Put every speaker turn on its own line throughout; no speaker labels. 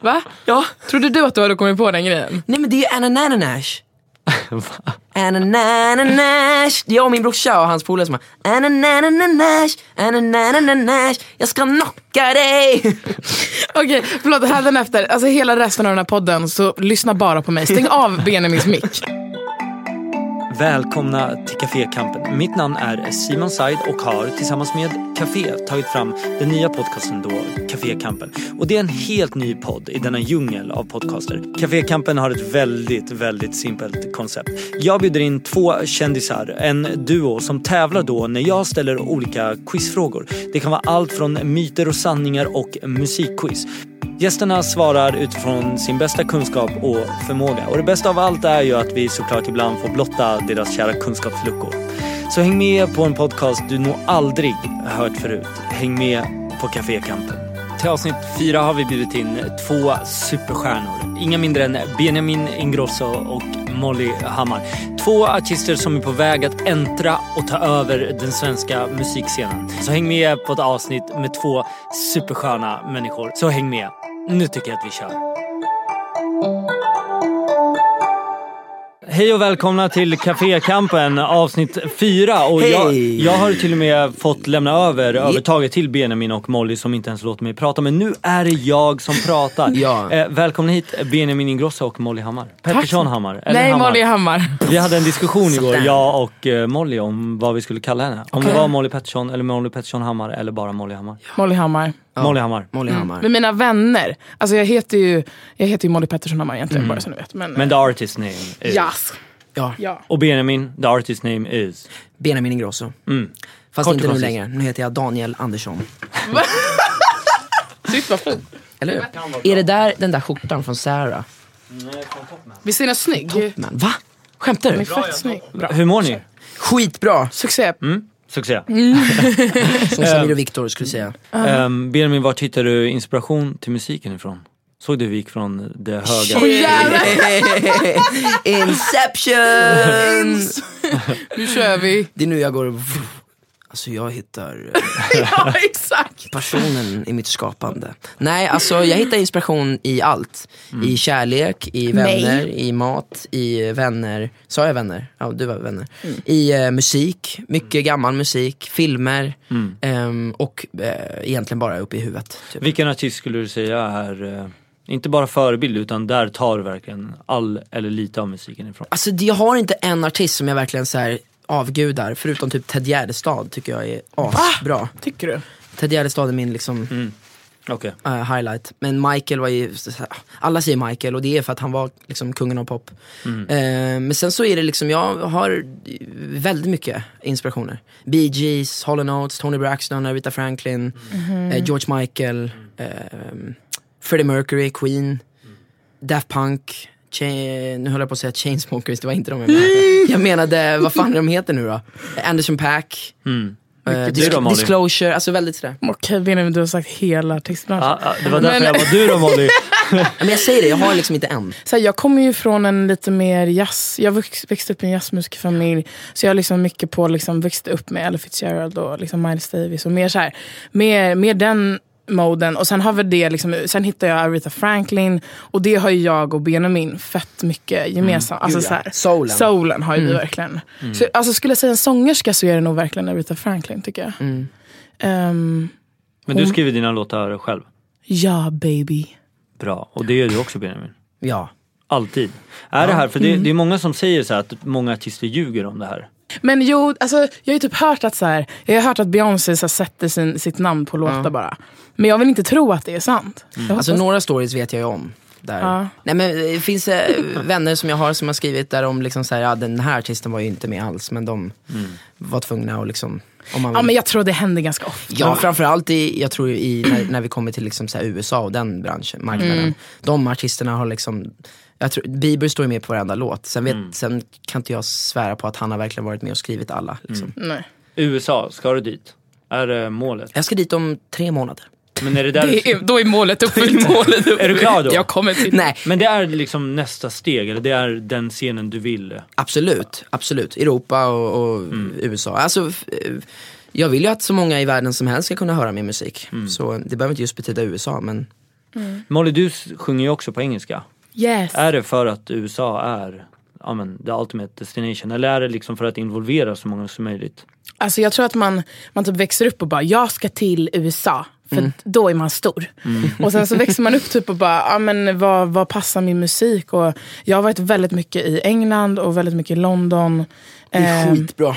Va?
Ja.
Trodde du att du hade kommit på den grejen?
Nej men det är ju Anna Nananash. Anna Nananash. Det är jag och min brorsa och hans polare som har Anna Nananash, Anna Nananash. Jag ska knocka dig.
Okej, förlåt. Hädanefter, alltså hela resten av den här podden, så lyssna bara på mig. Stäng av Benjamins mick.
Välkomna till Cafékampen. Mitt namn är Simon Said och har tillsammans med Café tagit fram den nya podcasten då, Cafékampen. Och det är en helt ny podd i denna djungel av podcaster. Cafékampen har ett väldigt, väldigt simpelt koncept. Jag bjuder in två kändisar, en duo som tävlar då när jag ställer olika quizfrågor. Det kan vara allt från myter och sanningar och musikquiz. Gästerna svarar utifrån sin bästa kunskap och förmåga. Och det bästa av allt är ju att vi såklart ibland får blotta deras kära kunskapsluckor. Så häng med på en podcast du nog aldrig hört förut. Häng med på Cafékampen. Till avsnitt fyra har vi bjudit in två superstjärnor. Inga mindre än Benjamin Ingrosso och Molly Hammar. Två artister som är på väg att äntra och ta över den svenska musikscenen. Så häng med på ett avsnitt med två supersköna människor. Så häng med. Nu tycker jag att vi kör. Hej och välkomna till Cafékampen avsnitt fyra. Och jag,
Hej!
jag har till och med fått lämna över övertaget till Benjamin och Molly som inte ens låter mig prata. Men nu är det jag som pratar.
Ja.
eh, välkomna hit Benjamin Ingrosso och Molly Hammar. Pettersson Hammar. eller
Nej,
Hammar.
Molly Hammar.
Vi hade en diskussion igår,
Sådär.
jag och eh, Molly, om vad vi skulle kalla henne. Om det
Okej.
var Molly Pettersson eller Molly Pettersson Hammar eller bara Molly Hammar.
Molly Hammar.
Molly Hammar.
Molly Hammar.
Men mina vänner, alltså jag heter ju, jag heter ju Molly Pettersson Hammar egentligen, bara så ni vet. Men,
Mm. Men the artist name is...
Yes.
Ja.
Ja.
Och Benjamin, the artist name is...
Benjamin Ingrosso. Fast
Kort
inte
och
nu
koncist.
längre. Nu heter jag Daniel Andersson.
Shit vad fin.
Eller hur? Är det där den där skjortan från Sarah?
Visst är den snygg? Den
Men, va? Skämtar
är
du?
fett snygg.
Hur mår ni?
Skitbra!
Succé.
Mm. Succé.
Mm.
Som Samir och Viktor skulle säga.
Ehm, Benjamin, vart hittar du inspiration till musiken ifrån? Såg du vi gick från det höga...
jävlar.
Inception!
Nu kör vi.
Det är nu jag går och... Alltså jag hittar eh,
ja, exakt.
passionen i mitt skapande. Nej, alltså jag hittar inspiration i allt.
Mm.
I kärlek, i vänner, i mat, i eh, vänner. Sa jag vänner? Ja, du var vänner.
Mm.
I eh, musik, mycket gammal musik, filmer
Mm.
ehm, och eh, egentligen bara uppe i huvudet. Typ.
Vilken artist skulle du säga är, eh, inte bara förebild, utan där tar verkligen all eller lite av musiken ifrån?
Alltså det- jag har inte en artist som jag verkligen så här avgudar, förutom typ Ted Gärdestad tycker jag är asbra.
Tycker du?
Ted Gärdestad är min liksom
Okej.
eh, highlight. Men Michael var ju, alla säger Michael och det är för att han var liksom kungen av pop. Eh, men sen så är det liksom, jag har väldigt mycket inspirationer. Bee Gees, Hall Oates, Tony Braxton, Aretha Franklin,
Mhm.
eh, George Michael, ehm, Freddie Mercury, Queen, Daft Punk. Cha- nu höll jag på att säga Chainsmokers, det var inte de jag menade. Jag menade, vad fan är de heter nu då? Anderson Pack,
Mm.
eh,
du då,
dis-
Molly?
Disclosure, alltså väldigt sådär.
Okej Benjamin, du har sagt hela artistbranschen.
Ah, ah, det var därför
Men-
jag var du då Molly.
Men jag säger det, jag har liksom inte en.
Så här, jag kommer ju från en lite mer jazz, jag vux- växte upp i en jazzmusikerfamilj. Så jag har liksom mycket på, liksom, växte upp med Ella Fitzgerald och liksom Miles Davis. Och mer så här, mer, mer den moden. Och sen, har vi det, liksom, sen hittade jag Aretha Franklin. Och det har ju jag och Benjamin fett mycket gemensamt. Alltså,
Mm. Gud,
så
ja. Mm.
här,
Soulen.
soulen har ju vi verkligen. Så, alltså, skulle jag säga en sångerska så är det nog verkligen Aretha Franklin tycker jag.
Mm.
Ehm,
Men du skriver dina låtar själv.
ja baby.
Bra, och det gör du också Benjamin.
Ja.
Alltid. Är det här, för det, det är många som säger så här att många artister ljuger om det här.
Men jo, alltså, jag har ju typ hört att, så här, jag har hört att Beyoncé så här, sätter sin, sitt namn på låtar bara. Men jag vill inte tro att det är sant. Jag hoppas-
Alltså några stories vet jag ju om. Där.
Ja.
Nej, men, det finns eh, vänner som jag har som har skrivit där om liksom så här, ja, den här artisten var ju inte med alls men de var tvungna att liksom om man
ja,
vill.
men jag tror det händer ganska ofta.
Ja, framförallt i, jag tror i, när, när vi kommer till liksom så här USA och den branschen, marknaden.
Mm.
De artisterna har liksom, jag tror, Bieber står ju med på varenda låt. Sen, vet, sen kan inte jag svära på att han har verkligen varit med och skrivit alla. Liksom.
Nej.
USA, ska du dit? Är det målet?
Jag ska dit om tre månader.
Men är det där
Det är, då är målet uppfyllt. målet uppfyllt.
Är du klar då?
Jag kommer till
Nej,
Men det är liksom nästa steg, eller det är den scenen du vill.
Absolut, absolut. Europa och, och USA. Alltså, f- eh, jag vill ju att så många i världen som helst ska kunna höra min musik. Så det behöver inte just betyda USA, men
Molly, du s- sjunger ju också på engelska.
Yes.
Äh.
Är det för att USA är ja, men, the ultimate destination? Eller är det liksom för att involvera så många som möjligt?
Alltså jag tror att man, man typ växer upp och bara, jag ska till USA. För
Mm.
att då är man stor. Och sen så växer man upp typ och bara, ah, men vad, vad passar min musik? Och jag har varit väldigt mycket i England och väldigt mycket i London.
Det är
Ehm,
skitbra.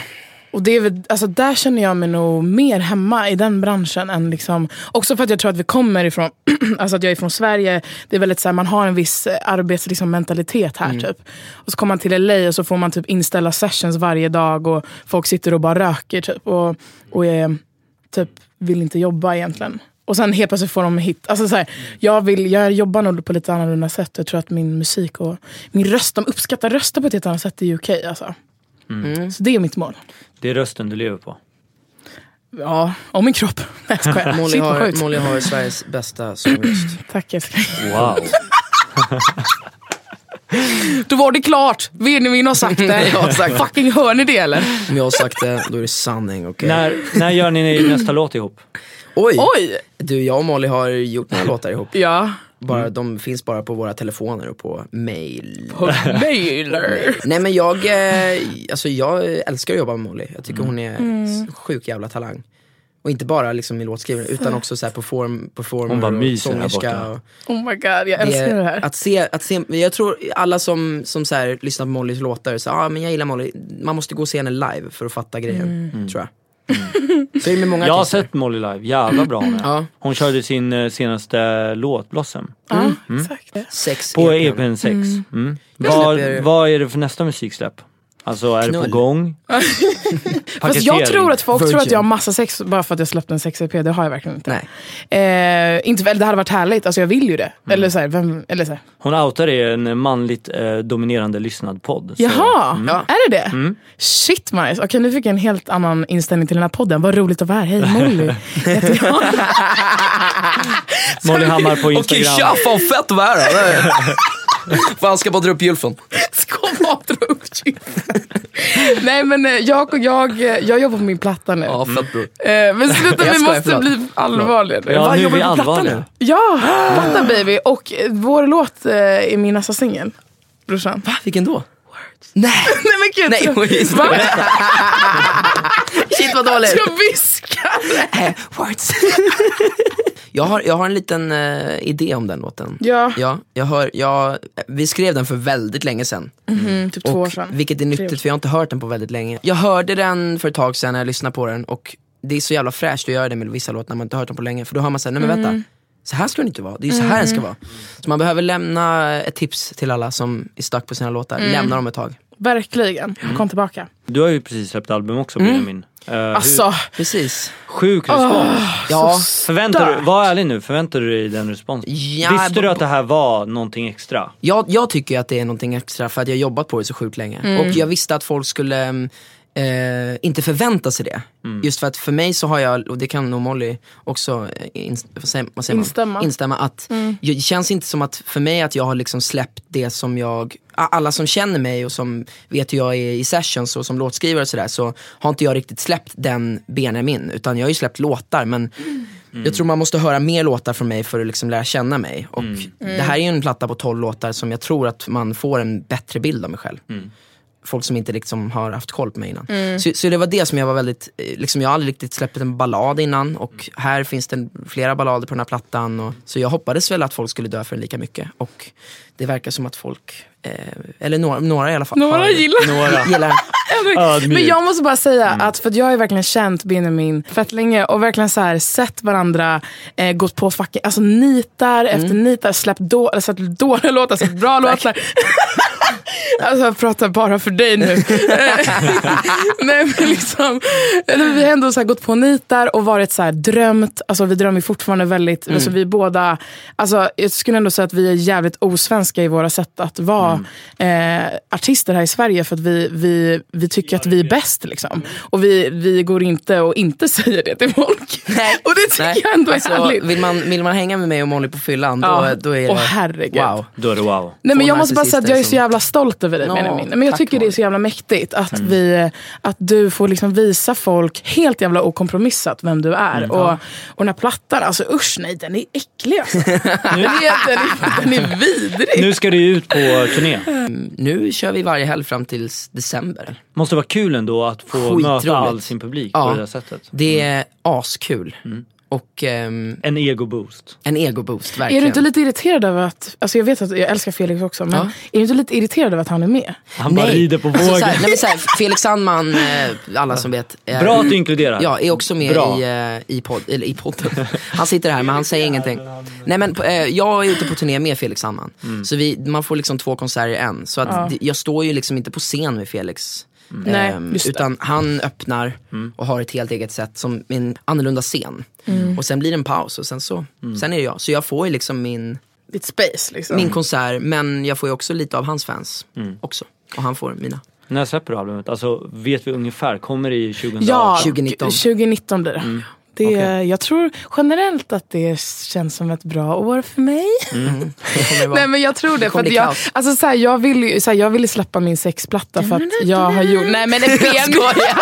och det är väl, alltså där känner jag mig nog mer hemma i den branschen. än liksom, Också för att jag tror att vi kommer ifrån, alltså att jag är från Sverige. Det är väldigt så här, man har en viss eh, arbets, liksom, mentalitet här typ. Och så kommer man till LA och så får man typ inställa sessions varje dag och folk sitter och bara röker typ. Och, och är, typ vill inte jobba egentligen. Och sen helt plötsligt får de hit. Alltså så här, jag, vill, jag jobbar nog på lite annorlunda sätt. Jag tror att min musik och min röst, de uppskattar röster på ett helt annat sätt i UK. Alltså. Så det är mitt mål.
Det är rösten du lever på.
Ja, om min kropp. Nej jag skojar.
Molly
Shit, vad sjukt.
har, Molly har Sveriges bästa sångröst.
Tack älskling.
Wow!
Då var det klart. Benjamin har sagt det.
Jag har sagt det.
Fucking hör ni det eller?
Om jag har sagt det, då är det sanning. okej?
när, när gör ni nästa låt ihop?
Oj!
Oj!
Du, jag och Molly har gjort några låtar ihop.
Ja.
Bara, De finns bara på våra telefoner och på mail.
Mailer.
Nej men jag, eh, alltså jag älskar att jobba med Molly. Jag tycker hon är
Mm.
s- sjuk jävla talang. Och inte bara liksom i låtskrivande utan också så här perform, performer
Hon bara
och
myser här
sångerska.
borta.
och-
Oh my god, jag
Det-
älskar det här.
Att se, att se, jag tror alla som, som så här, lyssnar på Mollys låtar, så, ah, men jag gillar Molly. Man måste gå och se henne live för att fatta
Mm.
grejen, tror jag. Så är det med många
Jag har
artister.
sett Molly live, jävla bra hon är.
Ja.
Hon körde sin eh, senaste låt, Blossom.
Ja, exakt.
Sex E
På
EPn.
EPn 6. Mm.
Jag
Vad,
släpper-
vad är det för nästa musiksläpp? Alltså är det
Knull.
på gång?
Fast jag tror att folk tror att
Virgin.
jag har massa sex bara för att jag släppte en sex-EP. Det har jag verkligen inte.
Nej.
Eh, inte väl, det hade varit härligt. Alltså jag vill ju det. Eller så här, vem, eller så här.
Hon outar i en manligt eh, dominerande lyssnad podd. så-
Jaha,
Ja.
är det det? Shit Majs, okej nu fick jag en helt annan inställning till den här podden. Vad roligt att vara här. Hej Molly. Heter jag.
Molly Hammar på
Okej,
Instagram.
tja, fan fett vad är det? Fan, ska bara dra upp gylfen.
Ska bara dra upp kyssen. Nej men eh, jag, och jag, eh, jag jobbar på min platta nu.
Ja, fett bror.
Eh, Men sluta,
Jag
vi
skojar,
måste
förlåt.
bli allvarliga nu.
Ja,
Vad
nu är
jobbar
vi
du på plattan
allvarliga.
nu?
Ja, platta baby. Och eh, vår låt eh, är min nästa singel. Brorsan.
Va, vilken då? Nej,
Nej men gud.
nej,
jag-
words.
Va?
Shit vad dåligt.
Jag viskar.
Eh, words. Jag har, jag har en liten eh, idé om den låten.
Ja,
Ja, jag hör, jag, vi skrev den för väldigt länge sedan.
mhm, typ två år
Och,
sedan.
vilket är nyttigt för jag har inte hört den på väldigt länge. Jag hörde den för ett tag sedan när jag lyssnade på den och det är så jävla fräscht att göra det med vissa låtar när man inte hört dem på länge. För då hör man såhär, nej men
Mm.
vänta. Så här ska den inte vara, det är ju så här den ska vara. Så man behöver lämna ett tips till alla som är stuck på sina låtar.
Mm.
Lämna dem ett tag.
Verkligen. Kom tillbaka.
Du har ju precis släppt album också
Mm.
Benjamin. Eh, hur-
Alltså,
Precis.
Sjuk respons.
Ja,
Förväntar du, var ärlig nu, förväntar du dig den responsen?
Ja,
Visste
b-
du att det här var någonting extra?
jag, jag tycker att det är någonting extra för att jag har jobbat på det så sjukt länge. Och jag visste att folk skulle mm, eh, inte förvänta sig det. Just för att för mig så har jag, och det kan nog Molly också eh, ins- vad säger, vad säger man?
Instämma.
instämma att jag- det känns inte som att för mig att jag har liksom släppt det som jag, a- alla som känner mig och som vet hur jag är i sessions och som låtskrivare och sådär så har inte jag riktigt släppt den Benjamin utan jag har ju släppt låtar men Mm. Jag tror man måste höra mer låtar från mig för att liksom lära känna mig. Och Det här är ju en platta på 12 låtar som jag tror att man får en bättre bild av mig själv. Folk som inte liksom har haft koll på mig innan.
Mm.
Så, så det var det som jag var väldigt, eh, liksom, jag har aldrig riktigt släppt en ballad innan och här finns det flera ballader på den här plattan. Och, så jag hoppades väl att folk skulle dö för den lika mycket. Och det verkar som att folk, eh, eller några, några i alla fall,
Några
har-
gillar-
Några.
gillar den.
Ödmjuk.
Men jag måste bara säga att för att jag har ju verkligen känt Benjamin fett länge och verkligen så här sett varandra eh, gått på fucking, alltså nitar efter nitar, släppt, då, eller släppt dåliga låtar, släppt bra låtar. Alltså jag pratar bara för dig nu. Nej, men liksom, eller vi har ändå så här gått på nitar och varit så här drömt. Alltså vi drömmer ju fortfarande väldigt.
Mm.
Alltså vi båda, alltså jag skulle ändå säga att vi är jävligt osvenska i våra sätt att vara
Mm.
eh, artister här i Sverige. För att vi, vi, vi tycker att vi är bäst. Liksom. Och vi, vi går inte och inte säger det till folk.
Nej.
Och det tycker jag ändå är
alltså,
härligt.
Vill man, vill man hänga med mig och Molly på fyllan, då,
Ja.
då är det...
Åh, herregud.
Wow.
Då är det wow.
Nej, men
Två
jag måste bara säga att jag är så
narcissister som-
jävla stolt över dig
Nå,
Benjamin. Men jag
tack, Mm.
tycker det är så jävla mäktigt att, vi, att du får liksom visa folk helt jävla okompromissat vem du är.
Mm,
och, och den här plattan, alltså usch nej den är äcklig alltså. den, är, den, är, den är vidrig.
Nu ska du ut på turné.
Nu kör vi varje helg fram till december.
Måste vara kul ändå att få
Skitroligt.
möta all sin publik på
Ja.
det där sättet.
Det är askul.
Mm.
Och ehm,
En ego-boost.
en egoboost verkligen.
Är du inte lite irriterad över att, alltså jag vet att jag älskar Felix också, men
Ja.
är du inte lite irriterad över att han är med?
Han bara rider på vågen.
Alltså, såhär, nej, men såhär, Felix Sandman, eh, alla som vet. är-
Bra att du inkluderar.
Ja, är också med
Bra.
i, eh, i, podd, eller i podden. Han sitter här men han säger ingenting. Nej men eh, jag är ute på turné med Felix Sandman.
Mm.
Så vi, man får liksom två konserter i en. Så att det- jag står ju liksom inte på scen med Felix.
Nej,
Ehm,
Eh, just det.
utan han öppnar och har ett helt eget sätt som en annorlunda scen.
Mm.
Och sen blir det en paus och sen så, sen är det jag. Så jag får ju liksom min,
Ditt space liksom.
min konsert men jag får ju också lite av hans fans
Mm.
också. Och han får mina.
När släpper du albumet? Alltså, vet vi ungefär? Kommer det i 2018?
Ja,
2019.
2019 blir det.
Mm.
Det,
Okej.
Jag tror generellt att det känns som ett bra år för mig.
Det kommer det vara.
Nej men jag tror det. För
kommer
att
bli
jag,
kaos.
alltså, så här, jag, vill, ju- så här, jag ville släppa min sexplatta för att jag har gjort... Nej men
Jag
Benjamin!
skojar!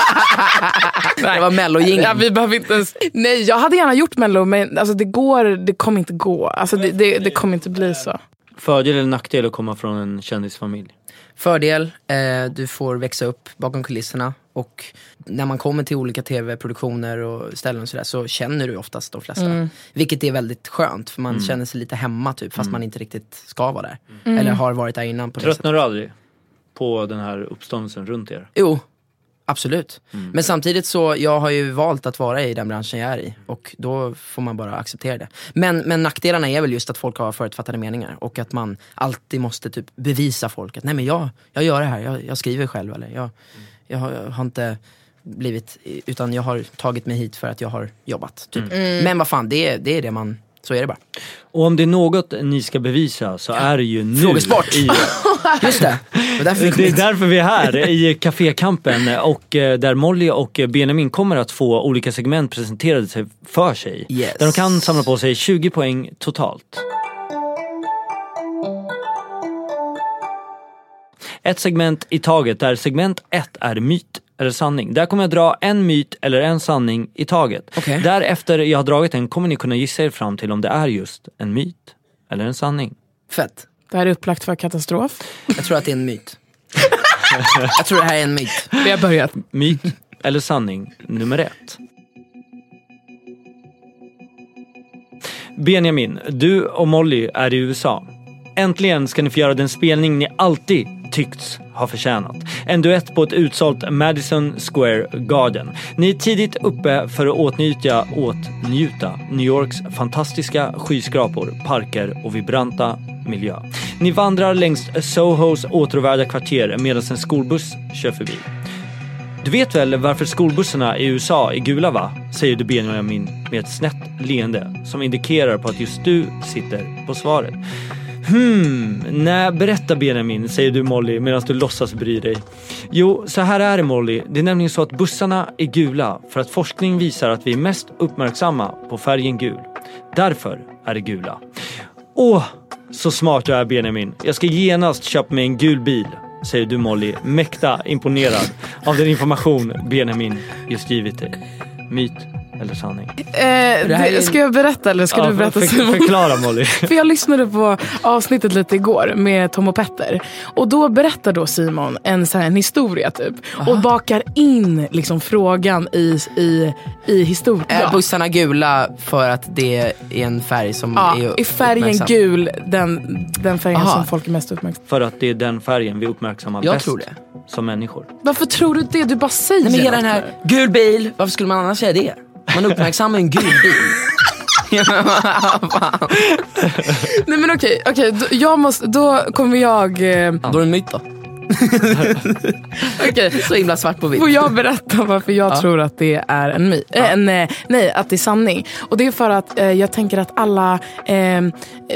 Det var mellojingeln.
Ja, vi behöver inte ens... Nej jag hade gärna gjort mello men alltså, det, går, det kommer inte gå. Alltså, det, det, det kommer inte bli så.
Fördel eller nackdel att komma från en kändisfamilj?
Fördel, eh, du får växa upp bakom kulisserna och när man kommer till olika tv-produktioner och ställen och sådär så känner du oftast de flesta.
Mm.
Vilket är väldigt skönt för man känner sig lite hemma typ
Mm.
fast man inte riktigt ska vara där. Eller har varit där innan på det sättet.
Tröttnar du aldrig på den här uppståndelsen runt er?
Jo, absolut.
Mm.
Men samtidigt så, jag har ju valt att vara i den branschen jag är i och då får man bara acceptera det. Men, men nackdelarna är väl just att folk har förutfattade meningar och att man alltid måste typ bevisa folk att nej men jag, jag gör det här, jag, jag skriver själv eller jag, jag, har, jag har inte blivit, utan jag har tagit mig hit för att jag har jobbat. Typ.
Mm.
Men vad fan, det, är- det är det man, så är det bara.
Och om det är något ni ska bevisa så är det ju nu.
Frågesport.
I,
Just det, det var därför vi kom
det är
hit.
därför vi är här i Cafékampen och eh, där Molly och Benjamin kommer att få olika segment presenterade sig- för sig.
Yes.
Där de kan samla på sig 20 poäng totalt. Ett segment i taget där segment ett är myt eller sanning. Där kommer jag dra en myt eller en sanning i taget.
Okej.
Därefter jag har dragit den kommer ni kunna gissa er fram till om det är just en myt eller en sanning.
Fett.
Det här är upplagt för katastrof.
Jag tror att det är en myt. Jag tror det här är en myt.
Vi har börjat.
Myt eller sanning nummer ett. Benjamin, du och Molly är i USA. Äntligen ska ni få göra den spelning ni alltid tyckts ha förtjänat. En duett på ett utsålt Madison Square Garden. Ni är tidigt uppe för att åtnjuta, åtnjuta New Yorks fantastiska skyskrapor, parker och vibranta miljö. Ni vandrar längs Sohos åtråvärda kvarter medan en skolbuss kör förbi. Du vet väl varför skolbussarna i USA är gula va? Säger du Benjamin med ett snett leende som indikerar på att just du sitter på svaret. Hmm, nej berätta Benjamin, säger du Molly medan du låtsas bry dig. Jo, så här är det Molly. Det är nämligen så att bussarna är gula för att forskning visar att vi är mest uppmärksamma på färgen gul. Därför är det gula. Åh, så smart du är Benjamin. Jag ska genast köpa mig en gul bil, säger du Molly, mäkta imponerad av den information Benjamin just givit dig. Myt eller sanning?
Eh,
här är-
det- Ska jag berätta eller ska
Ja,
du berätta
för,
Simon?
för, förklara Molly.
För jag lyssnade på avsnittet lite igår med Tom och Petter. Och då berättar då Simon en, så här, en historia typ. Och bakar in liksom frågan i, i, i historien.
Är Eh, bussarna gula för att det är en färg som
ja,
är
i färgen
uppmärksam?
gul, den, den färgen
Aha.
som folk är mest uppmärksamma
För att det är den färgen vi uppmärksammar
Jag
bäst
tror det.
som människor.
Varför tror du det? Du bara säger
Nej men hela
något
den
nu.
här, gul bil, varför skulle man annars säga det? Man uppmärksammar en gul bil.
Nej men okej, okej då, jag måste, då kommer jag... Eh,
Då är det en myt då.
okej.
Så himla svart på vitt.
Får jag berätta varför jag tror att det är en my- eh, en, eh, nej, att det är sanning? Och det är för att eh, jag tänker att alla eh,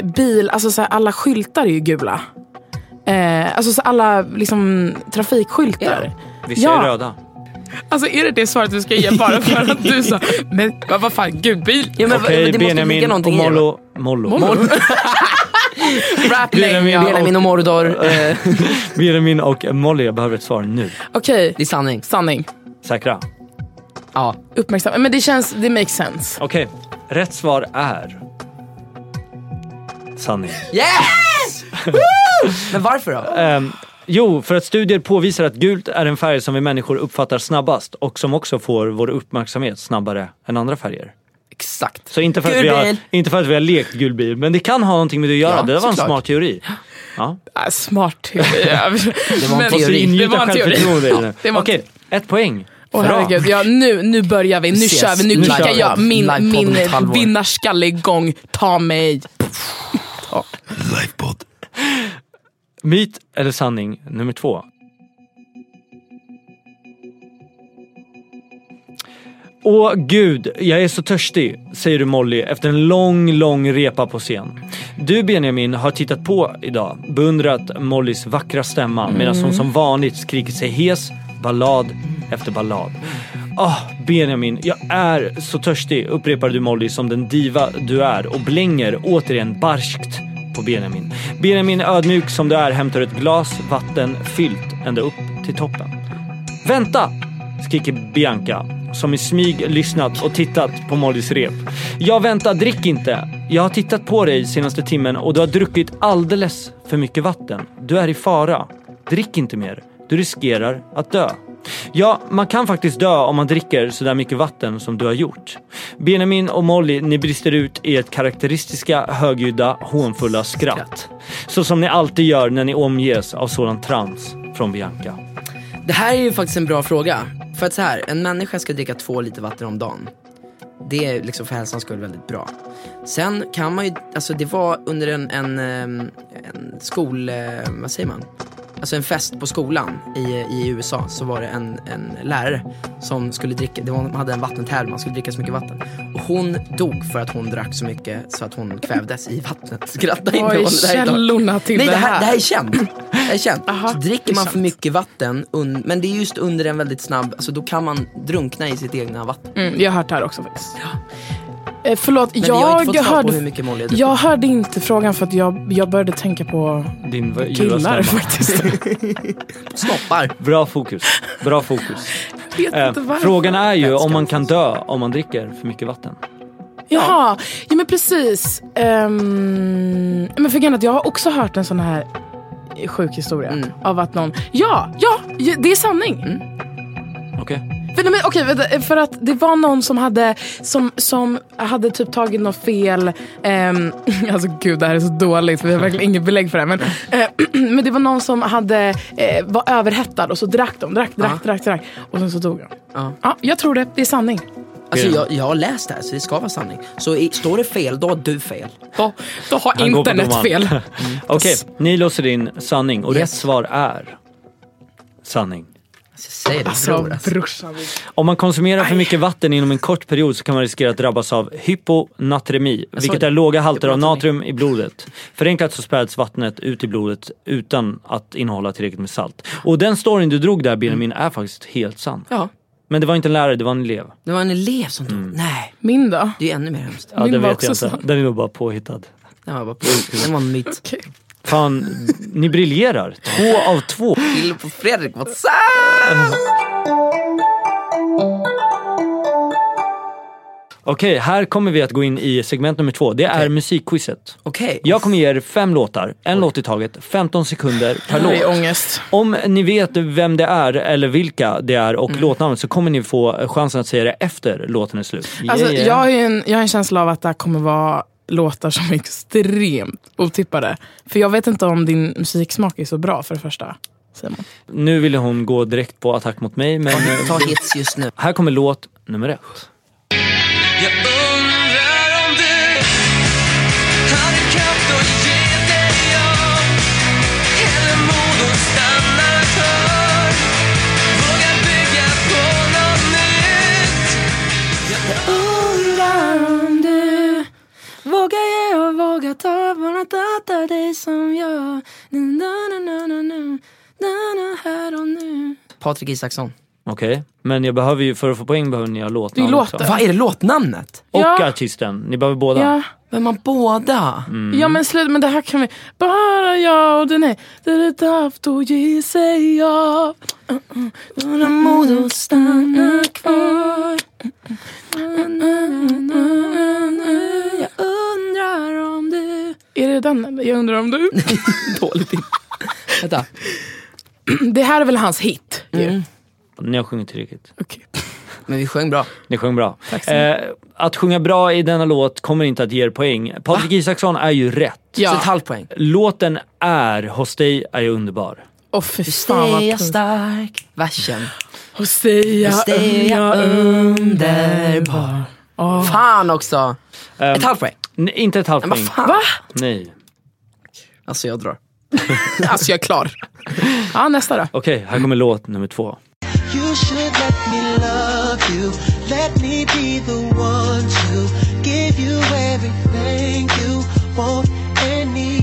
bil, alltså så här, alla skyltar är ju gula. Eh, alltså så alla liksom, trafikskyltar.
Vissa är röda.
Alltså är det det svaret vi ska ge bara för att du sa, men vad- vad fan, gud bil.
Ja, men,
Okej
men det måste
Benjamin
ligga
och
någonting i det, va?
Mollo. Mollo.
Mollo. Rap name,
Benjamin,
ja.
Benjamin.
Benjamin och Mordor, eh,
Benjamin och Molly, jag behöver ett svar nu.
Okej,
det är sanning.
sanning.
Säkra?
Ja.
Uppmärksam. Men det känns, det makes sense.
Okej, rätt svar är... Sanning.
Yes! Men varför då?
Ehm, jo, för att studier påvisar att gult är en färg som vi människor uppfattar snabbast och som också får vår uppmärksamhet snabbare än andra färger.
Exakt.
Så inte för, att
Gul
vi har,
bil.
inte för att vi har lekt gul bil, men det kan ha någonting med det att göra.
Ja,
det där var en
såklart.
smart teori. Ja.
Ah, smart teori. Ja.
Det var
Men-
en
Måste
teori.
Det var
ingjuta
en teori.
självförtroende i den.
det var en
Okej, ett poäng.
Åh
Bra.
herregud, ja, nu, nu börjar vi, nu
Ses.
kör vi, nu,
Nu
kickar
kör vi.
jag min,
Livepodd om
min
ett halvår.
vinnarskalle igång, ta mig.
Myt eller sanning nummer två. Åh gud, jag är så törstig, säger du Molly efter en lång, lång repa på scen. Du Benjamin har tittat på idag, beundrat Mollys vackra stämma medan hon som vanligt skrikit sig hes, ballad efter ballad. Ah, Benjamin, jag är så törstig, upprepar du Molly som den diva du är och blänger återigen barskt på Benjamin. Benjamin ödmjuk som du är hämtar ett glas vatten fyllt ända upp till toppen. Vänta! skriker Bianca som i smyg lyssnat och tittat på Mollys rep. Jag väntar, drick inte! Jag har tittat på dig senaste timmen och du har druckit alldeles för mycket vatten. Du är i fara. Drick inte mer. Du riskerar att dö. Ja, man kan faktiskt dö om man dricker sådär mycket vatten som du har gjort. Benjamin och Molly, ni brister ut i ett karaktäristiska högljudda hånfulla skratt. Så som ni alltid gör när ni omges av sådant trams från Bianca.
Det här är ju faktiskt en bra fråga. För att så här, en människa ska dricka två liter vatten om dagen. Det är liksom för hälsans skull väldigt bra. Sen kan man ju, alltså det var under en, en, ehm, en skol, eh, vad säger man? Alltså en fest på skolan i, i USA så var det en, en lärare som skulle dricka, det var, hon hade en vattentävling, man skulle dricka så mycket vatten. Och hon dog för att hon drack så mycket så att hon kvävdes i vattnet. Skratta inte
Oj,
åt det här idag.
källorna till
Nej, det här, det här är känt. Det här är känt.
Aha,
så
det är
dricker man för
sant.
mycket vatten, un- men det är just under en väldigt snabb, alltså då kan man drunkna i sitt egna vatten.
Mm, jag har hört det här också faktiskt. Eh, förlåt,
Men
jag,
vi har inte fått svar på hur
hörde,
mycket Molly har druckit.
jag hörde inte frågan för att jag, jag började tänka på
Din v-
killar
ljudavstämma.
faktiskt.
Snoppar.
Bra fokus. Bra fokus.
Jag vet
Eh,
inte varför.
frågan är ju om man kan dö om man dricker för mycket vatten.
Jaha, ja men precis. Ehm, men för grejen är att jag har också hört en sån här sjuk historia. Av att någon, ja, ja, ju- det är sanning.
Okej.
För, nej, men, okej, vänta, för att det var någon som hade, som, som hade typ tagit något fel. ehm, alltså gud, det här är så dåligt. för Vi har verkligen inget belägg för det här. Men, eh, men det var någon som hade, eh, var överhettad och så drack de. Drack, drack,
Ja.
drack, drack. Och sen så dog de.
Ja.
Ja, jag tror det. Det är sanning.
Alltså jag, jag har läst det här så det ska vara sanning. Så i, står det fel, då har du fel.
Då, då har
Han går på
internet
domaren.
fel.
Okej, ni låser in sanning och
Yes.
rätt svar är sanning.
Alltså, säg det
Så
bror. Alltså.
brorsan.
Om man konsumerar för mycket vatten inom en kort period så kan man riskera att drabbas av hyponatremi, vilket
det.
är låga halter av
pratade om
natrium i blodet. Förenklat så späds vattnet ut i blodet utan att innehålla tillräckligt med salt. Och den storyn du drog där Benjamin är faktiskt helt sann.
Ja,
Men det var inte en lärare, det var en elev.
det var en elev som dog. Nej,
Min då?
det är ännu mer hemskt.
Ja,
Min
det
var
vet jag
också
inte. Den är nog bara påhittad.
Den var bara på Den var en myt.
Fan, ni briljerar. Två av två.
Till på Fredrik, what's up?
Okej, här kommer vi att gå in i segment nummer två. Det är musikquizet.
Okej.
Jag kommer ge er fem låtar, en låt i taget, 15 sekunder per
Det är
låt.
ångest.
Om ni vet vem det är eller vilka det är och
Mm.
låtnamnet så kommer ni få chansen att säga det efter låten är slut.
Alltså,
Yeah, yeah.
Jag, har ju en, jag har en känsla av att det här kommer vara låtar som är extremt otippade. För jag vet inte om din musiksmak är så bra för det första. Simon.
Nu ville hon gå direkt på attack mot mig men eh,
Ta hits just nu.
här kommer låt nummer ett.
Jag undrar om du hade kraft att ge dig av eller mod att stanna för Våga bygga på något nytt
Vågar jag och vågar ta Från att hata dig som jag Na, na, na, na, na, na, na, här och nu
Patrik Isaksson.
Okej, men jag behöver ju, för att få poäng behöver ni ha låtnamn
Det är
också.
låten.
Vad är det låtnamnet?
Och
Ja.
artisten, ni behöver båda.
Ja.
Vem har båda?
Mm. ja men slut, men det här kan vi. Bara jag och den är. Det är ett haft och ge sig av. Några mod och stanna kvar.
Jag undrar om du...
Är det den eller? Jag undrar om du.
Dåligt in. Vänta.
Det här är väl hans hit?
Mm.
ju.
Ni har sjungit tillräckligt.
Okej.
Men vi sjöng bra.
Ni sjöng bra.
Tack så
Eh, att sjunga bra i denna låt kommer inte att ge er poäng. Patrik Isaksson är ju rätt.
Så ett
Ja.
halvt poäng.
Låten är Hos dig är jag underbar.
Åh fy fan vad pinsamt.
stark. Versen.
Hos dig jag
dig jag underbar.
Åh.
Fan också.
Ehm,
Ett halvt poäng.
Nej, inte ett halvt
Men
poäng.
vad fan.
Va?
Nej.
Alltså jag drar.
Alltså jag är klar. Ja nästa då.
Okej, här kommer låt nummer två.
You should let me love you. Let me be the one to give you everything you want and need.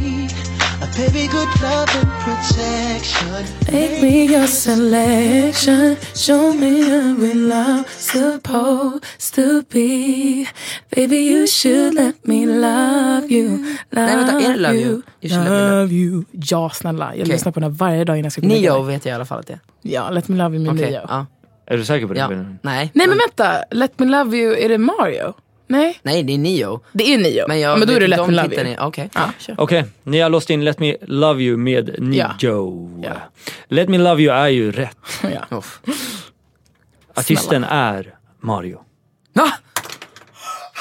A baby, good love and protection.
Make me your selection. Show me how we love supposed to be. Baby, you should let me love you. Love
Nej, vänta, är det Love You? You should let me
love you. Ja, snälla. Jag lyssnar på den här varje dag innan jag ska gå och lägga
Nio
mig.
vet jag i alla fall att det är.
Ja, Let Me Love You med
Okej,
Neo.
ja.
Är du säker på det?
ja.
Benjamin?
Nej.
Nej, men vänta. Let Me Love You, är det Mario? Nej,
Nej, det är Nio.
det är Nio.
Men, jag
men då
vet
är det
inte
Let
om
Me Love
titeln
You.
är- Okej.
Ja, kör.
Okej, ni har låst in Let Me Love You med Nijo. Let Me Love You är ju rätt.
Ja.
Uff.
Artisten är Mario.
Va?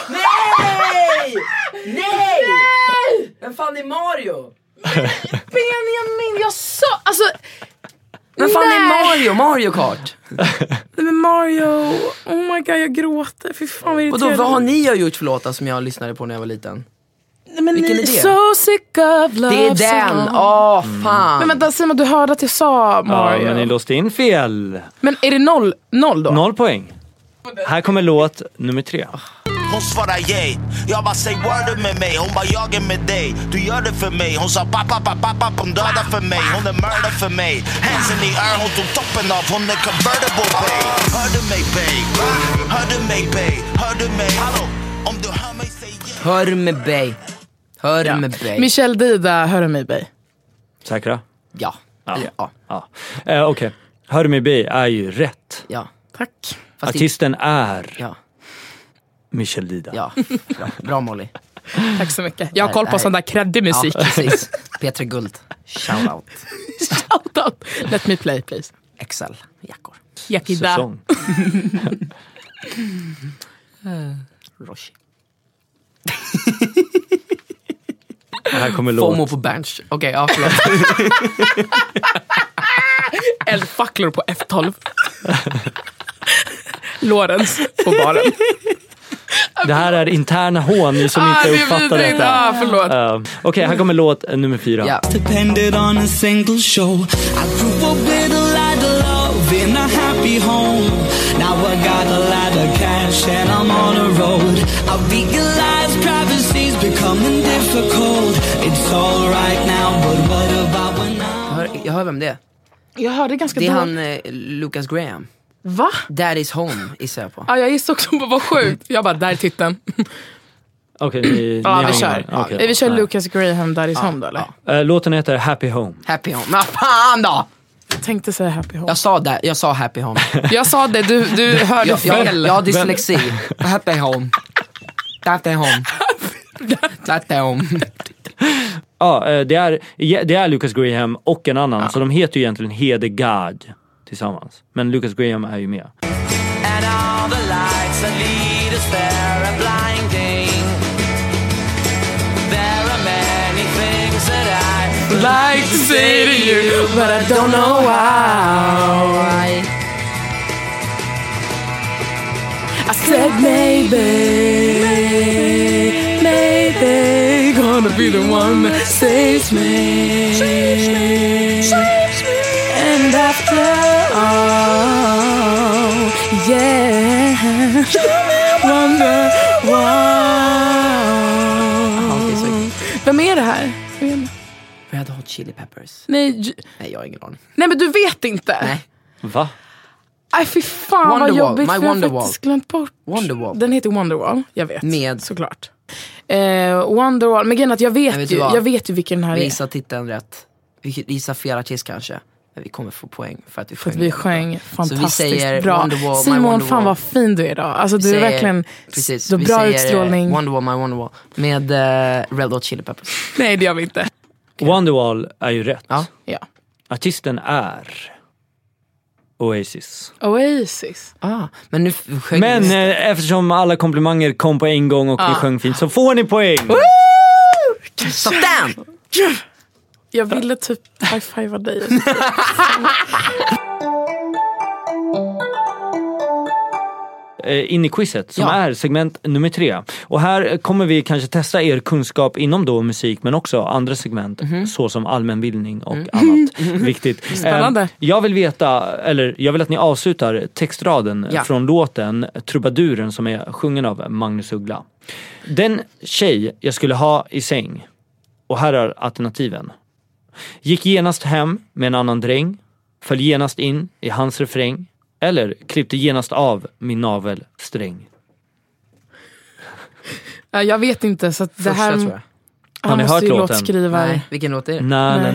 Nej! Nej! Vem fan är Mario?
Benjamin, jag sa... Alltså,
Vem fan
Nej.
är Mario? Mario Kart?
nej, men Mario... Oh my god, jag gråter. Fy fan vad
Vadå,
irriterande.
vad har ni gjort för låtar som jag lyssnade på när jag var liten?
Nej, men
Vilken
ni-
är det?
So sick of love
Det är den!
song.
Åh fan!
Mm. Men vänta Simon, du hörde att jag sa
Ja,
Mario.
men ni
men,
låste in fel.
är det noll, noll då?
Noll poäng. Här kommer låt nummer tre.
Ah.
Hon svarar yay Jag bara säg word med mig Hon bara jag är med dig Du gör det för mig Hon sa pappa pappa pappa Hon dödar för mig Hon är mördare för mig Hands in the air Hon tog toppen av Hon är convertible babe Hör du mig babe? Hör du mig babe? Hör du mig? Hallå? Om du hör mig säg yeah
Hör med Bay. Hör med Bay.
Michelle Dida, hör du mig bej?
Säkra?
Ja.
Ja.
Eller, ja.
Ja. Eh, Okej, Hör mig bi är ju rätt.
ja.
Tack.
Fast det-
Artisten är
Ja.
Michel Dida.
Ja. Bra, Bra Molly.
Tack så mycket. Jag har koll
Nej,
på
nej.
sån där kreddig
Ja,
musik.
precis. Petra Guld. Shout out.
Shout out. Let me play please.
XL. Jackor.
Yakida.
Säsong.
Roshi.
Här kommer
FOMO
låt.
på bench. Okej, ja förlåt.
Eldfacklor på F12. Lorentz på baren.
Det här är interna hån, ni som
Ah, det
inte
är
uppfattar
vidrigt.
detta.
Ah, förlåt.
Eh, Okej, här kommer låt eh, nummer fyra.
Ja.
depended on a single show. I grew up with a lot of love in a happy home. Now I got a lot of cash and I'm on a road. I realize privacy's becoming difficult. It's alright now, but what about when I'm
Jag hör, jag hör vem det är.
Jag hörde ganska
Det är
dåligt.
han eh, Lucas Graham.
Va?
Daddy's home gissar jag på.
Ja, jag gissade också på vad sjukt. Jag bara, där är titeln.
Okej, ni,
Ja,
ni
vi
har
kör.
ingen- okej.
Eh, Vi kör
Nej.
Lucas Graham, Daddy's Home då eller?
Eh, Låten heter Happy Home.
Happy home. Men fan då!
Jag tänkte säga Happy Home.
Jag sa, där, jag sa happy home.
Jag sa det, du, du hörde
Jag, jag,
fel.
jag har dyslexi. Happy home. Happy home. Happy home.
Ja, eh, det är, det är Lucas Graham och en annan, så de heter ju egentligen Hedegaard tillsammans. Men Lucas Graham är ju med.
And all the lights that lead us there are blinding. There are many things that I
like to say to you, but I don't know why. I said maybe, maybe gonna be the one that saves me. And after all, yeah, wonder
okej,
why. Vem är det här?
Red Hot Chili Peppers.
Nej, j-
Nej, jag har ingen aning.
Nej men du vet inte.
Nej.
Va?
Aj fy fan
Wonderwall,
vad jobbigt
my
för jag har
Wonderwall.
faktiskt glömt bort.
Wonderwall.
Den heter Wonderwall, jag vet.
Med-
Såklart. Eh, Wonderwall, men grejen är att jag vet,
Men vet du
ju,
vad?
jag vet ju vilken den här
Vi
är.
gissar titeln rätt. Vi gissar fel artist kanske. Men vi kommer få poäng för att vi
För
sjöng.
att vi
jävligt bra.
sjöng fantastiskt
Så vi säger
bra.
Wonderwall, My
Simon,
Wonderwall.
fan vad fin du är idag. Alltså
Vi
du är
säger-
verkligen,
precis,
du har
vi
bra
säger, eh,
utstrålning.
Wonderwall, My Wonderwall. Med eh, Red Hot Chili Peppers.
Nej det gör vi inte.
Wonderwall är ju rätt.
Ja.
Ja.
Artisten är Oasis.
Oasis.
Ah, men nu f- sjöng
Men
vi.
eh, eftersom alla komplimanger kom på en gång och ni sjöng fint så får ni poäng.
Satan!
Jag ville typ high-fivea dig.
eh, in i quizet som
Ja.
är segment nummer tre. Och här eh, kommer vi kanske testa er kunskap inom då musik men också andra segment
Mhm.
såsom allmänbildning och
Mm.
annat viktigt.
Spännande.
Eh, jag vill veta, eller jag vill att ni avslutar textraden
Ja.
från låten Trubaduren som är sjungen av Magnus Uggla. Den tjej jag skulle ha i säng, och här är alternativen. Gick genast hem med en annan dräng, föll genast in i hans refräng eller klippte genast av min navelsträng.
Ja, jag vet inte så att det
Första
här,
tror jag.
Har
han
ni
måste
hört
ju
låten?
låtskrivare.
Nej, vilken låt är det?
Na na
Nej.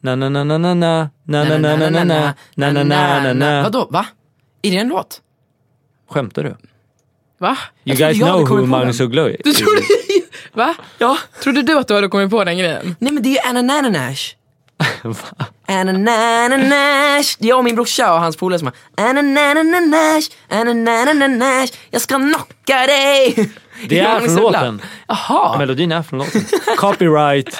na na na na na na na na na na na na na na na na na na
Vadå, va? Är det en låt?
Skämtar du?
Va?
You
Jag trodde
guys
jag hade
know who
kommit på
Magnus Uggla är?
Du trodde, va? Ja. Trodde du att du hade kommit på den grejen?
Nej men det är ju Anna Nananash. Anna Nananash. Jag och min brorsa och hans polare som bara Anna Nananash, Anna Nananash. Jag ska knocka dig.
Det är
Magnus
från
Uggla.
låten.
Jaha.
Melodin är från låten. Copyright.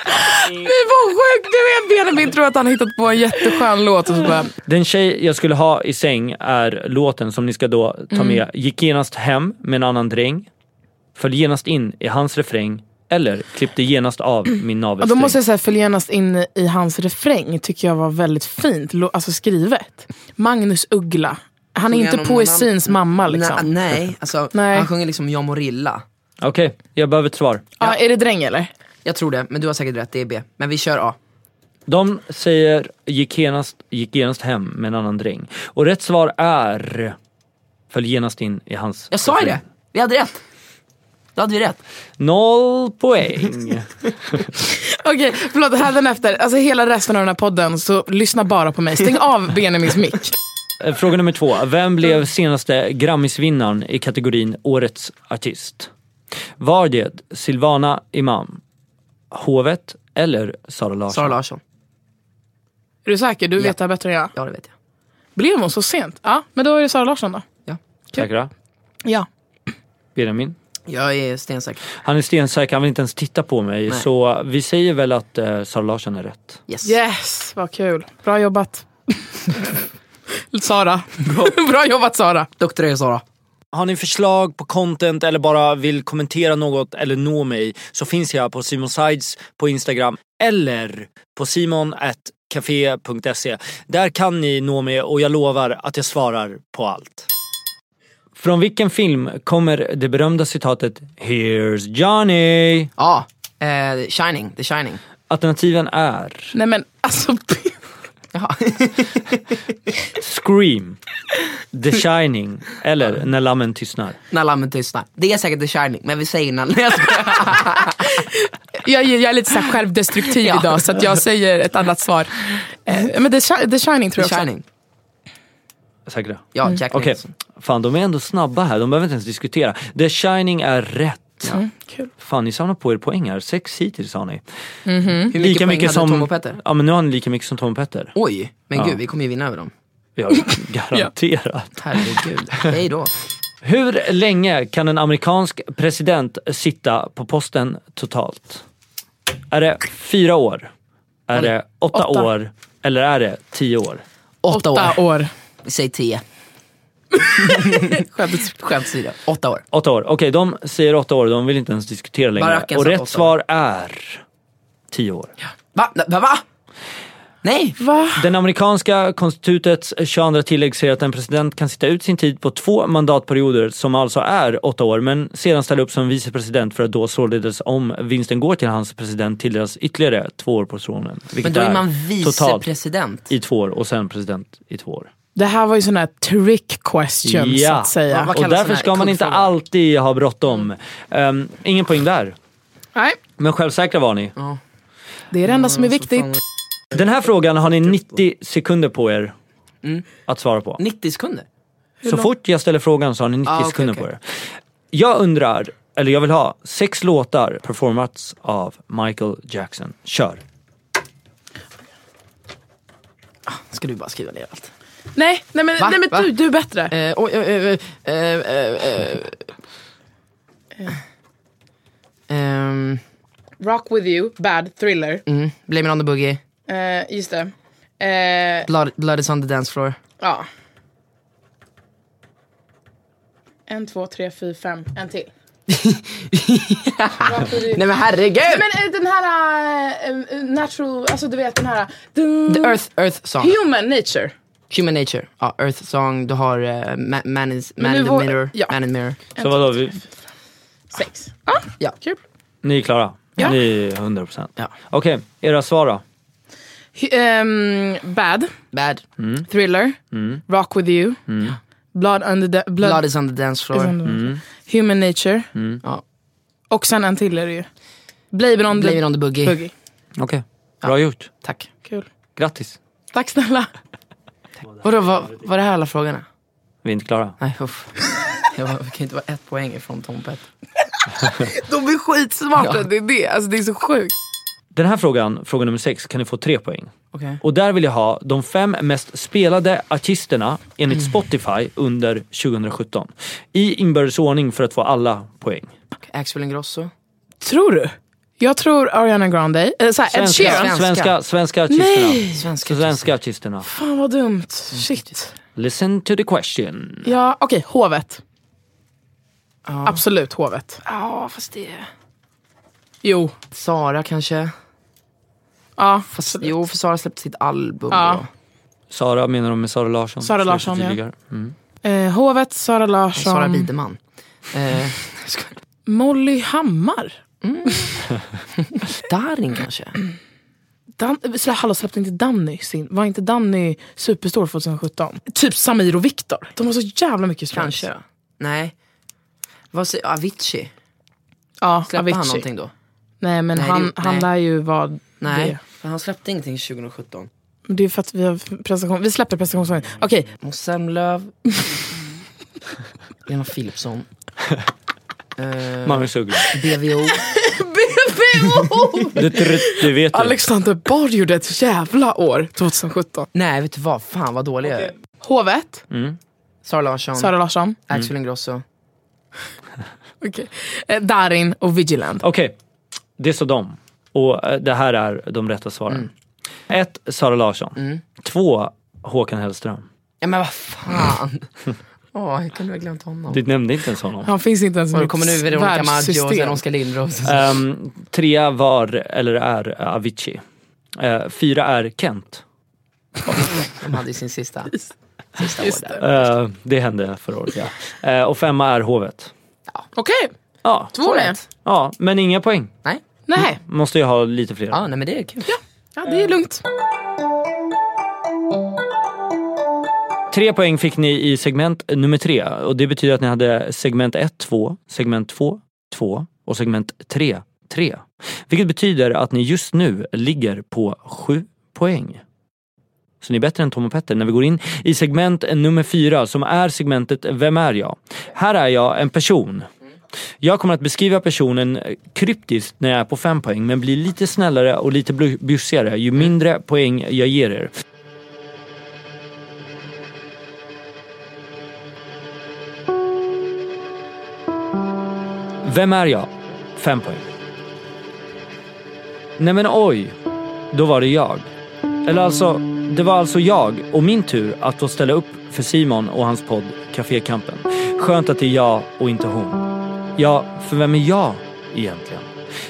Men vad sjukt, du vet Benjamin tror att han har hittat på en jätteskön låt och så bara,
Den tjej jag skulle ha i säng är låten som ni ska då ta med. Gick genast hem med en annan dräng. Föll genast in i hans refräng. Eller klippte genast av min
och då
navelsträng.
måste jag säga följ genast in i hans refräng tycker jag var väldigt fint lo- alltså skrivet. Magnus Uggla. Han är
Sjunger
inte
han om någon
poesins mamma liksom.
Nej, nej, alltså
Nej.
han sjunger liksom Jag Morilla.
Okej, jag behöver ett svar.
Ja, är det dräng eller?
Jag tror det, men du har säkert rätt, det är B. Men vi kör A.
De säger gick genast, gick genast hem med en annan dräng. Och rätt svar är föll genast in i hans...
Jag sa ju det, vi hade rätt. Då hade vi rätt.
Noll poäng.
Okej, förlåt hädanefter, alltså hela resten av den här podden så lyssna bara på mig. Stäng av Benjamins mick.
Eh, Fråga nummer två. Vem blev senaste Grammisvinnaren i kategorin Årets artist? Var det Silvana Imam, Hovet eller Sara Larsson?
Sara Larsson.
Är du säker? Du vet det här bättre än jag.
Ja det vet jag.
Blev hon så sent? Ja, men då är det Sara Larsson då.
Säkra?
Ja.
Benjamin?
Jag är stensäker.
Han är stensäker, han vill inte ens titta på mig.
Nej.
Så vi säger väl att eh, Sara Larsson är rätt.
Yes.
Yes, vad kul. Bra jobbat. Sara. Bra. jobbat Sara.
Duktig du är Sara.
Har ni förslag på content eller bara vill kommentera något eller nå mig så finns jag på Simon Sides på Instagram eller på simon.café.se. Där kan ni nå mig och jag lovar att jag svarar på allt. Från vilken film kommer det berömda citatet “Here's Johnny”?
Ja, eh, Shining, The Shining.
Alternativen är
Nej men alltså.
Jaha.
Scream, The Shining eller När lammen tystnar.
när lammen tystnar. Det är säkert The Shining, men vi säger innan. Jag skojar.
Jag, jag är lite så här självdestruktiv
Ja. Mm.
idag så att jag säger ett annat svar. Eh, men The, Shi- The Shining tror
The
jag också.
Shining.
Säkra?
Ja, Jack
Okej,
Nicholson.
fan de är ändå snabba här. De behöver inte ens diskutera. The Shining är rätt.
Mm, kul.
Fan, ni samlar på er poäng här. Sex hittills har ni.
Hur mycket poäng hade Tom och Petter? Oh.
Ja, men nu har ni lika mycket som Tom och Petter.
Oj, men
Ja.
gud vi kommer ju vinna över dem.
Ja, garanterat.
Herregud. Hej då.
Hur länge kan en amerikansk president sitta på posten totalt? Är det fyra år? Är det åtta,
Åtta.
år? Eller är det tio år?
Åtta år.
Åtta år.
Vi säger tio. Skämt åsido. Åtta år.
Åtta år. Okej, de säger åtta år. De vill inte ens diskutera längre.
Baracken
Och
sa
rätt
åtta
svar är tio år.
Va? Va? va? Nej.
Va?
Den amerikanska konstitutets 22 tillägg säger att en president kan sitta ut sin tid på två mandatperioder som alltså är åtta år men sedan ställa upp som vicepresident för att då således om vinsten går till hans president tilldelas ytterligare två år på
Men
tronen. vilket
då är man
totalt
vicepresident.
i två år och sen president i två år.
Det här var ju sån här trick questions så att säga.
vad
och
kallas
därför
sån här
ska man inte
kuggfråga?
alltid ha bråttom. Um, ingen poäng där.
Nej,
Men självsäkra var ni.
Ja.
det är det enda som är viktigt.
fan.
Den här frågan har ni 90 sekunder på er
Mm.
att svara på.
90 sekunder?
Så fort jag ställer frågan så har ni 90
Ah, okej,
sekunder
okej.
på er. Jag undrar, eller jag vill ha, sex låtar performats av Michael Jackson. Kör!
Ska du bara skriva ner allt?
Nej, nej men,
Va?
nej,
Va?
men du, du är bättre.
Eh, oj, eh, eh, eh, eh, eh. Ehm,
Rock with you, bad, thriller.
mm, Blame it on the boogie,
Eh, just det. Eh,
blood, blood is on the dance floor.
ja. En, två, tre, fyra, fem. En till. Rock with you.
Nej men herregud!
Men eh, den här eh, eh, natural, alltså du vet den här.
The earth, earth song,
Human nature.
human nature. Ja, earth song, du har eh, ma- man, is, man
nu
in the
var-
mirror,
ja.
man in the mirror.
Så vadå, vi,
Sex. Ja,
Ja.
kul.
ni är klara?
Ja.
Ni är 100%?
Ja.
Okej, era svar då?
Hu- ehm, bad,
Bad,
thriller, rock with you, blood under the, Mm. blood, Mm.
blood is on the dance floor.
under- human nature.
Ja.
Och sen en till är det ju. Blame it on
Blame it
the
on the boogie.
boogie.
Okej, bra gjort.
Tack.
Kul.
Grattis.
Tack snälla.
Vadå, var, var det här alla frågorna?
Vi är inte klara.
Nej, uff. Jag var- jag kan inte vara ett poäng ifrån Tom Pett. De är skitsmarta.
Det är det, alltså det är så sjukt.
Den här frågan, fråga nummer sex, kan ni få tre poäng.
Okej.
Och där vill jag ha de fem mest spelade artisterna enligt Spotify under 2017. I inbördes ordning för att få alla poäng.
Axel Ingrosso.
Tror du? Jag tror Ariana Grande, äh, såhär, Ed
Svenska,
Sheeran.
Svenska.
svenska, svenska artisterna.
Nej!
Svenska.
Svenska artisterna.
Fan vad dumt. Shit.
Listen to the question.
Ja, okej, hovet. Absolut hovet.
Ja, fast det...
Jo.
Sara kanske.
Ja,
Fast, jo, för Sara släppte sitt album
Ja.
då.
Sara menar de med Sara Larsson.
Sara
Så jag
Larsson, ja.
förtydligar. Mm.
eh, hovet, Sara Larsson.
Sara Biderman. Eh, ska-
Molly Hammar.
Darin kanske?
Dan, så här, hallå, släppte inte Danny sin? Var inte Danny superstor 2017? Typ Samir och Viktor. De har så jävla mycket stress.
Kanske. Nej. Vad säger Avicii?
Ja,
Släppte han
Avicii.
någonting då?
Nej, men
Nej, det-
han, han
nej.
lär ju vara
Nej.
det.
För han släppte ingenting 2017.
Men Det är för att vi har presentation. Vi släpper presentationen. Okej,
Måns Zelmerlöw. Lena Philipsson.
Magnus Uggla.
BVO.
BVO!
Du, du, du vet ju.
Alexander Bard gjorde ett jävla år 2017.
Nej, vet du vad? Fan vad dålig jag är.
Hovet,
Sara Larsson.
Sara Mm. Larsson,
Axel Ingrosso.
okay. eh, Darin och Vigiland.
Okej, det är så dem. Och eh, det här är de rätta svaren.
Mm.
Ett, Sara Larsson. Två, Håkan Hellström.
Ja men vad fan. Åh, hur kunde vi ha glömt honom?
Du nämnde inte ens honom.
Han finns inte ens i
Och då
mitt
kommer nu Veronica Maggio och sen
världssystem.
Oskar Lindros.
Ehm, trea var, eller är, Avicii. Eh, fyra är Kent.
De hade ju sin sista.
Just det.
Eh, det hände förra året, ja. Eh, och femma är Hovet.
Okej,
Ja,
två med.
ja, men inga poäng.
Nej?
Nej,
Mm.
Måste ju ha lite fler.
Ja, nej men det är kul.
ja, det är lugnt.
Tre poäng fick ni i segment nummer tre och det betyder att ni hade segment 1, 2, segment 2, 2 och segment 3, 3. Vilket betyder att ni just nu ligger på 7 poäng. Så ni är bättre än Tom och Petter när vi går in i segment nummer fyra som är segmentet Vem är jag? Här är jag en person. Jag kommer att beskriva personen kryptiskt när jag är på fem poäng men blir lite snällare och lite blu- bjussigare ju mindre poäng jag ger er. Vem är jag? Fem poäng. Nej men oj, då var det jag. Eller alltså, det var alltså jag och min tur att få ställa upp för Simon och hans podd Café Kampen. Skönt att det är jag och inte hon. Ja, för vem är jag egentligen?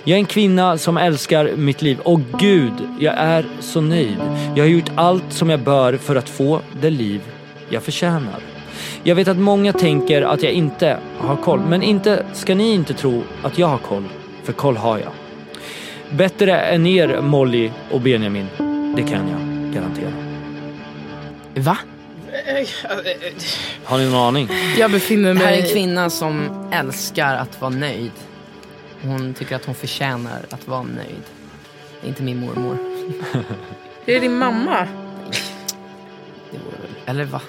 Jag är en kvinna som älskar mitt liv. Och gud, jag är så nöjd. Jag har gjort allt som jag bör för att få det liv jag förtjänar. Jag vet att många tänker att jag inte har koll, men inte ska ni inte tro att jag har koll, för koll har jag. Bättre än er Molly och Benjamin, det kan jag garantera.
Va?
Har ni någon aning?
Jag befinner
Det här
mig...
är en kvinna som älskar att vara nöjd. Hon tycker att hon förtjänar att vara nöjd. Det är inte min mormor.
Det är din mamma.
Det vore väl... Eller va?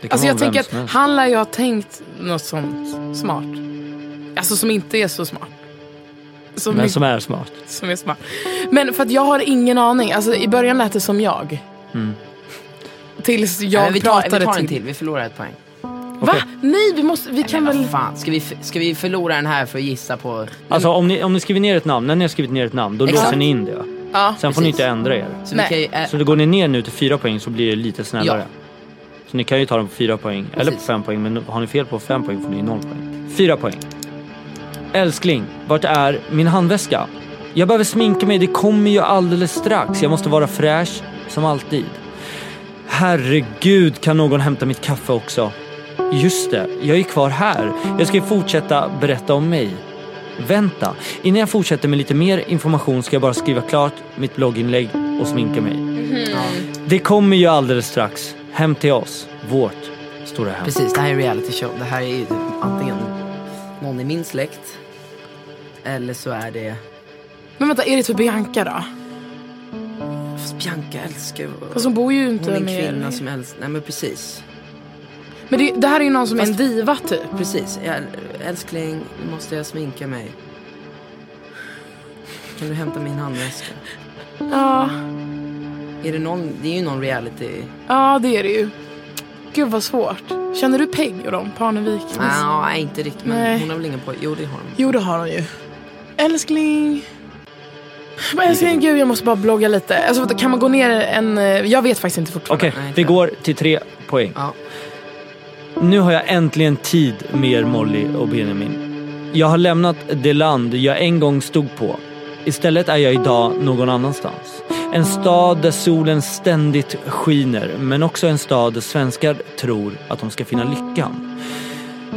Det kan
Alltså jag
vara vem
tänker
som
att
helst.
han lär ju ha tänkt något sånt smart. Alltså som inte är så smart. Som,
Men
inte-
som är smart.
som är smart. Men för att jag har ingen aning. Alltså i början lät det som jag.
Mm.
Tills jag
Nej, vi, tar,
pratade
vi tar en
till...
till, vi förlorar ett poäng.
Va? Nej, vi måste... Vi kan
Men
väl...
vad fan, ska vi, f- ska vi förlora den här för att gissa på...
Alltså om ni, om ni skriver ner ett namn, när ni har skrivit ner ett namn, då
Exakt.
låser ni in det. va?
Ja.
Sen får ni
precis.
inte ändra er.
Så
Nej.
vi kan ju,
Så
äh,
då går ni ner nu till fyra poäng så blir det lite snällare. Så ni kan ju ta dem på fyra poäng, eller på
Precis.
fem poäng. Men har ni fel på fem poäng får ni noll poäng. Fyra poäng. Älskling, vart är min handväska? Jag behöver sminka mig, det kommer ju alldeles strax. Jag måste vara fräsch, som alltid. Herregud, kan någon hämta mitt kaffe också? Just det, jag är kvar här. Jag ska ju fortsätta berätta om mig. Vänta, innan jag fortsätter med lite mer information ska jag bara skriva klart mitt blogginlägg och sminka mig.
Mhm.
Det kommer ju alldeles strax. Hem till oss. Vårt stora hem.
precis, det här är en reality show. Det här är ju antingen någon i min släkt, eller så är det...
Men vänta, är det typ Bianca då?
Fast Bianca älskar ju...
Fast hon bor ju inte
Hon är en
med
kvinna som älskar... Nej men precis.
Men det, det här är ju någon som är en
Fast-
diva typ.
Precis. Äl- Älskling, nu måste jag sminka mig. Kan du hämta min handväska?
Ja,
Är det någon... Det är ju någon reality...
ja det är det ju. Gud vad svårt. Känner du Peg och dem? Parnevik?
Ah, Nej, inte riktigt. Men
Nej.
hon har väl ingen pojke? Jo, det har hon.
Jo, det har hon ju. Älskling. Men älskling, gud, jag måste bara blogga lite. Alltså, vänta, kan man gå ner en... eh, Jag vet faktiskt inte fortfarande.
Okej,
Nej, inte.
vi går till tre poäng.
Ja.
Nu har jag äntligen tid med er Molly och Benjamin. Jag har lämnat det land jag en gång stod på. Istället är jag idag någon annanstans. En stad där solen ständigt skiner, men också en stad där svenskar tror att de ska finna lyckan.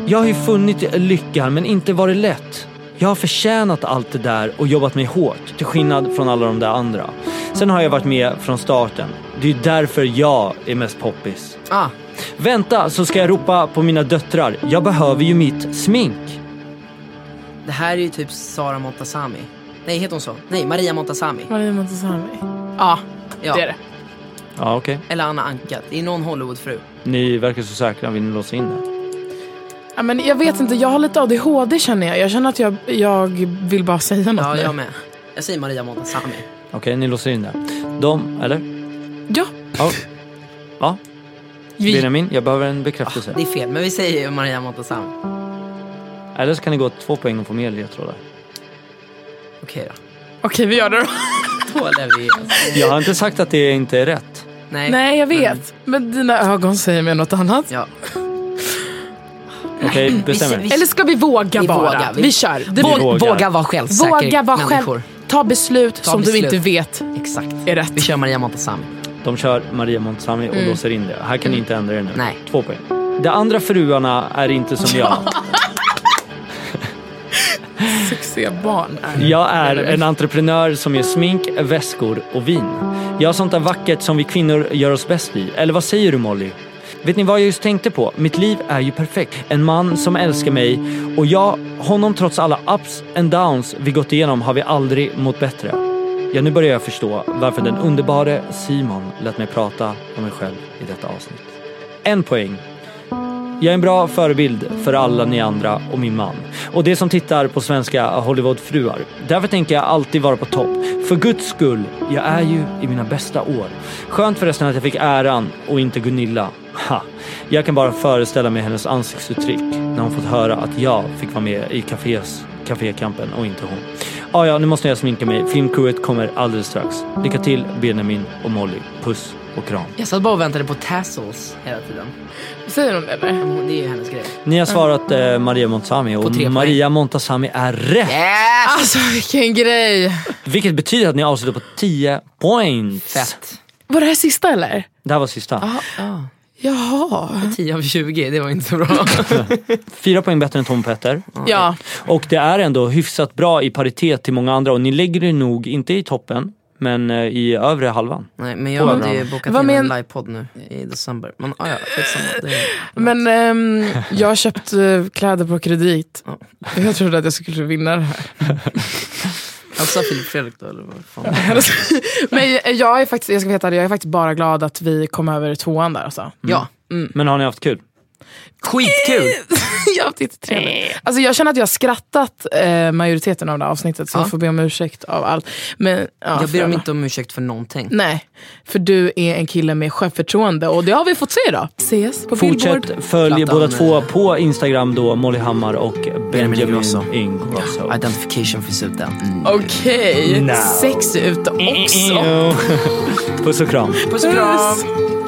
Jag har ju funnit lyckan, men inte varit lätt. Jag har förtjänat allt det där och jobbat mig hårt, till skillnad från alla de där andra. Sen har jag varit med från starten. Det är ju därför jag är mest poppis.
Ah,
Vänta så ska jag ropa på mina döttrar. Jag behöver ju mitt smink.
det här är ju typ Sara Montazami. Nej, heter hon så? Nej, Maria Montazami.
Maria Montazami. Ja,
Ja.
det är det.
Ja, okej.
Eller Anna Anka. Det är någon Hollywoodfru.
Ni verkar så säkra. Vill ni låsa in det?
Ja, men jag vet inte, jag har lite ADHD känner jag. Jag känner att jag, jag vill bara säga något
Ja,
nu.
jag med. Jag säger Maria Montazami.
Okej, ni låser in det. De, eller?
Ja,
Ja. Va?
vi,
Benjamin, jag behöver en bekräftelse.
Det är fel, men vi säger ju Maria Montazami.
Eller så kan ni gå två poäng och få mer ledtrådar.
Okej
okej vi gör det då.
då. Då lever vi. Alltså.
Jag har inte sagt att det inte är rätt.
Nej.
Nej, jag vet. Men dina ögon säger mig något annat.
Ja.
Okej, bestäm er.
vi-
Eller ska vi våga
Vi
bara?
vågar, vi-
vi, kör. Det
Våg-
blir-
vågar.
Våga vara självsäker
våga vara
människor.
själv. Ta beslut som
beslut.
du inte vet
Exakt.
är rätt.
Vi kör Maria Montazami.
De kör Maria Montazami och låser in det. Här kan ni inte ändra er nu.
Mm. Nej.
Två poäng. De andra fruarna är inte som jag.
Succébarn är
Jag är en entreprenör som gör smink, väskor och vin. Jag har sånt där vackert som vi kvinnor gör oss bäst i. Eller vad säger du Molly? Vet ni vad jag just tänkte på? Mitt liv är ju perfekt. En man som älskar mig och jag, honom trots alla ups and downs vi gått igenom har vi aldrig mått bättre. Ja, nu börjar jag förstå varför den underbare Simon lät mig prata om mig själv i detta avsnitt. En poäng jag är en bra förebild för alla ni andra och min man. Och det som tittar på svenska Hollywoodfruar. Därför tänker jag alltid vara på topp. För guds skull, jag är ju i mina bästa år. Skönt förresten att jag fick äran och inte Gunilla. Ha. Jag kan bara föreställa mig hennes ansiktsuttryck när hon fått höra att jag fick vara med i kafés, kafékampen och inte hon. Ah, ja, nu måste jag sminka mig. Filmcrewet kommer alldeles strax. Lycka till Benjamin och Molly. Puss och kram.
Jag satt bara och väntade på tassels hela tiden.
Säger hon det eller?
Det är ju hennes grej.
Ni har svarat eh, Maria Montazami
På
och
tre poäng.
Maria Montazami är rätt.
Yes!
Alltså vilken grej.
Vilket betyder att ni avslutar på 10 points.
Fett.
Var det här sista eller?
Det här var sista.
Ah,
Jaha.
10 av 20, det var inte så bra.
Fyra poäng bättre än Tom Petter.
Ja.
Och det är ändå hyfsat bra i paritet till många andra och ni lägger er nog, inte i toppen, men eh, i övre halvan.
Nej, men jag
Åh,
hade ju
bra.
bokat
Vad
in en
men-
livepodd nu i december. Men ah, ja, skitsamma. Det är...
Men ehm, jag har köpt eh, kläder på kredit.
Ja.
Jag trodde att jag skulle vinna det här.
Alltså Filip Fredrik då, eller vad fan?
Men eh, jag är faktiskt, jag ska veta det, jag är faktiskt bara glad att vi kom över tvåan där alltså.
Ja,
Men har ni haft kul?
skitkul!
jag har inte trevligt. Alltså jag känner att jag har skrattat eh, majoriteten av det här avsnittet så
Ja.
jag får be om ursäkt av allt. Men, ja,
Jag ber
för-
om inte om ursäkt för någonting.
Nej, för du är en kille med självförtroende och det har vi fått se idag. Ses på Billboard.
Fortsätt följ
Plattan,
båda två på Instagram då, Molly Hammar och Benjamin
Ingrosso.
Ingrosso.
Identification finns ute. Mm.
Okej,
No.
sex ut också.
mm, Puss och kram.
Puss och kram.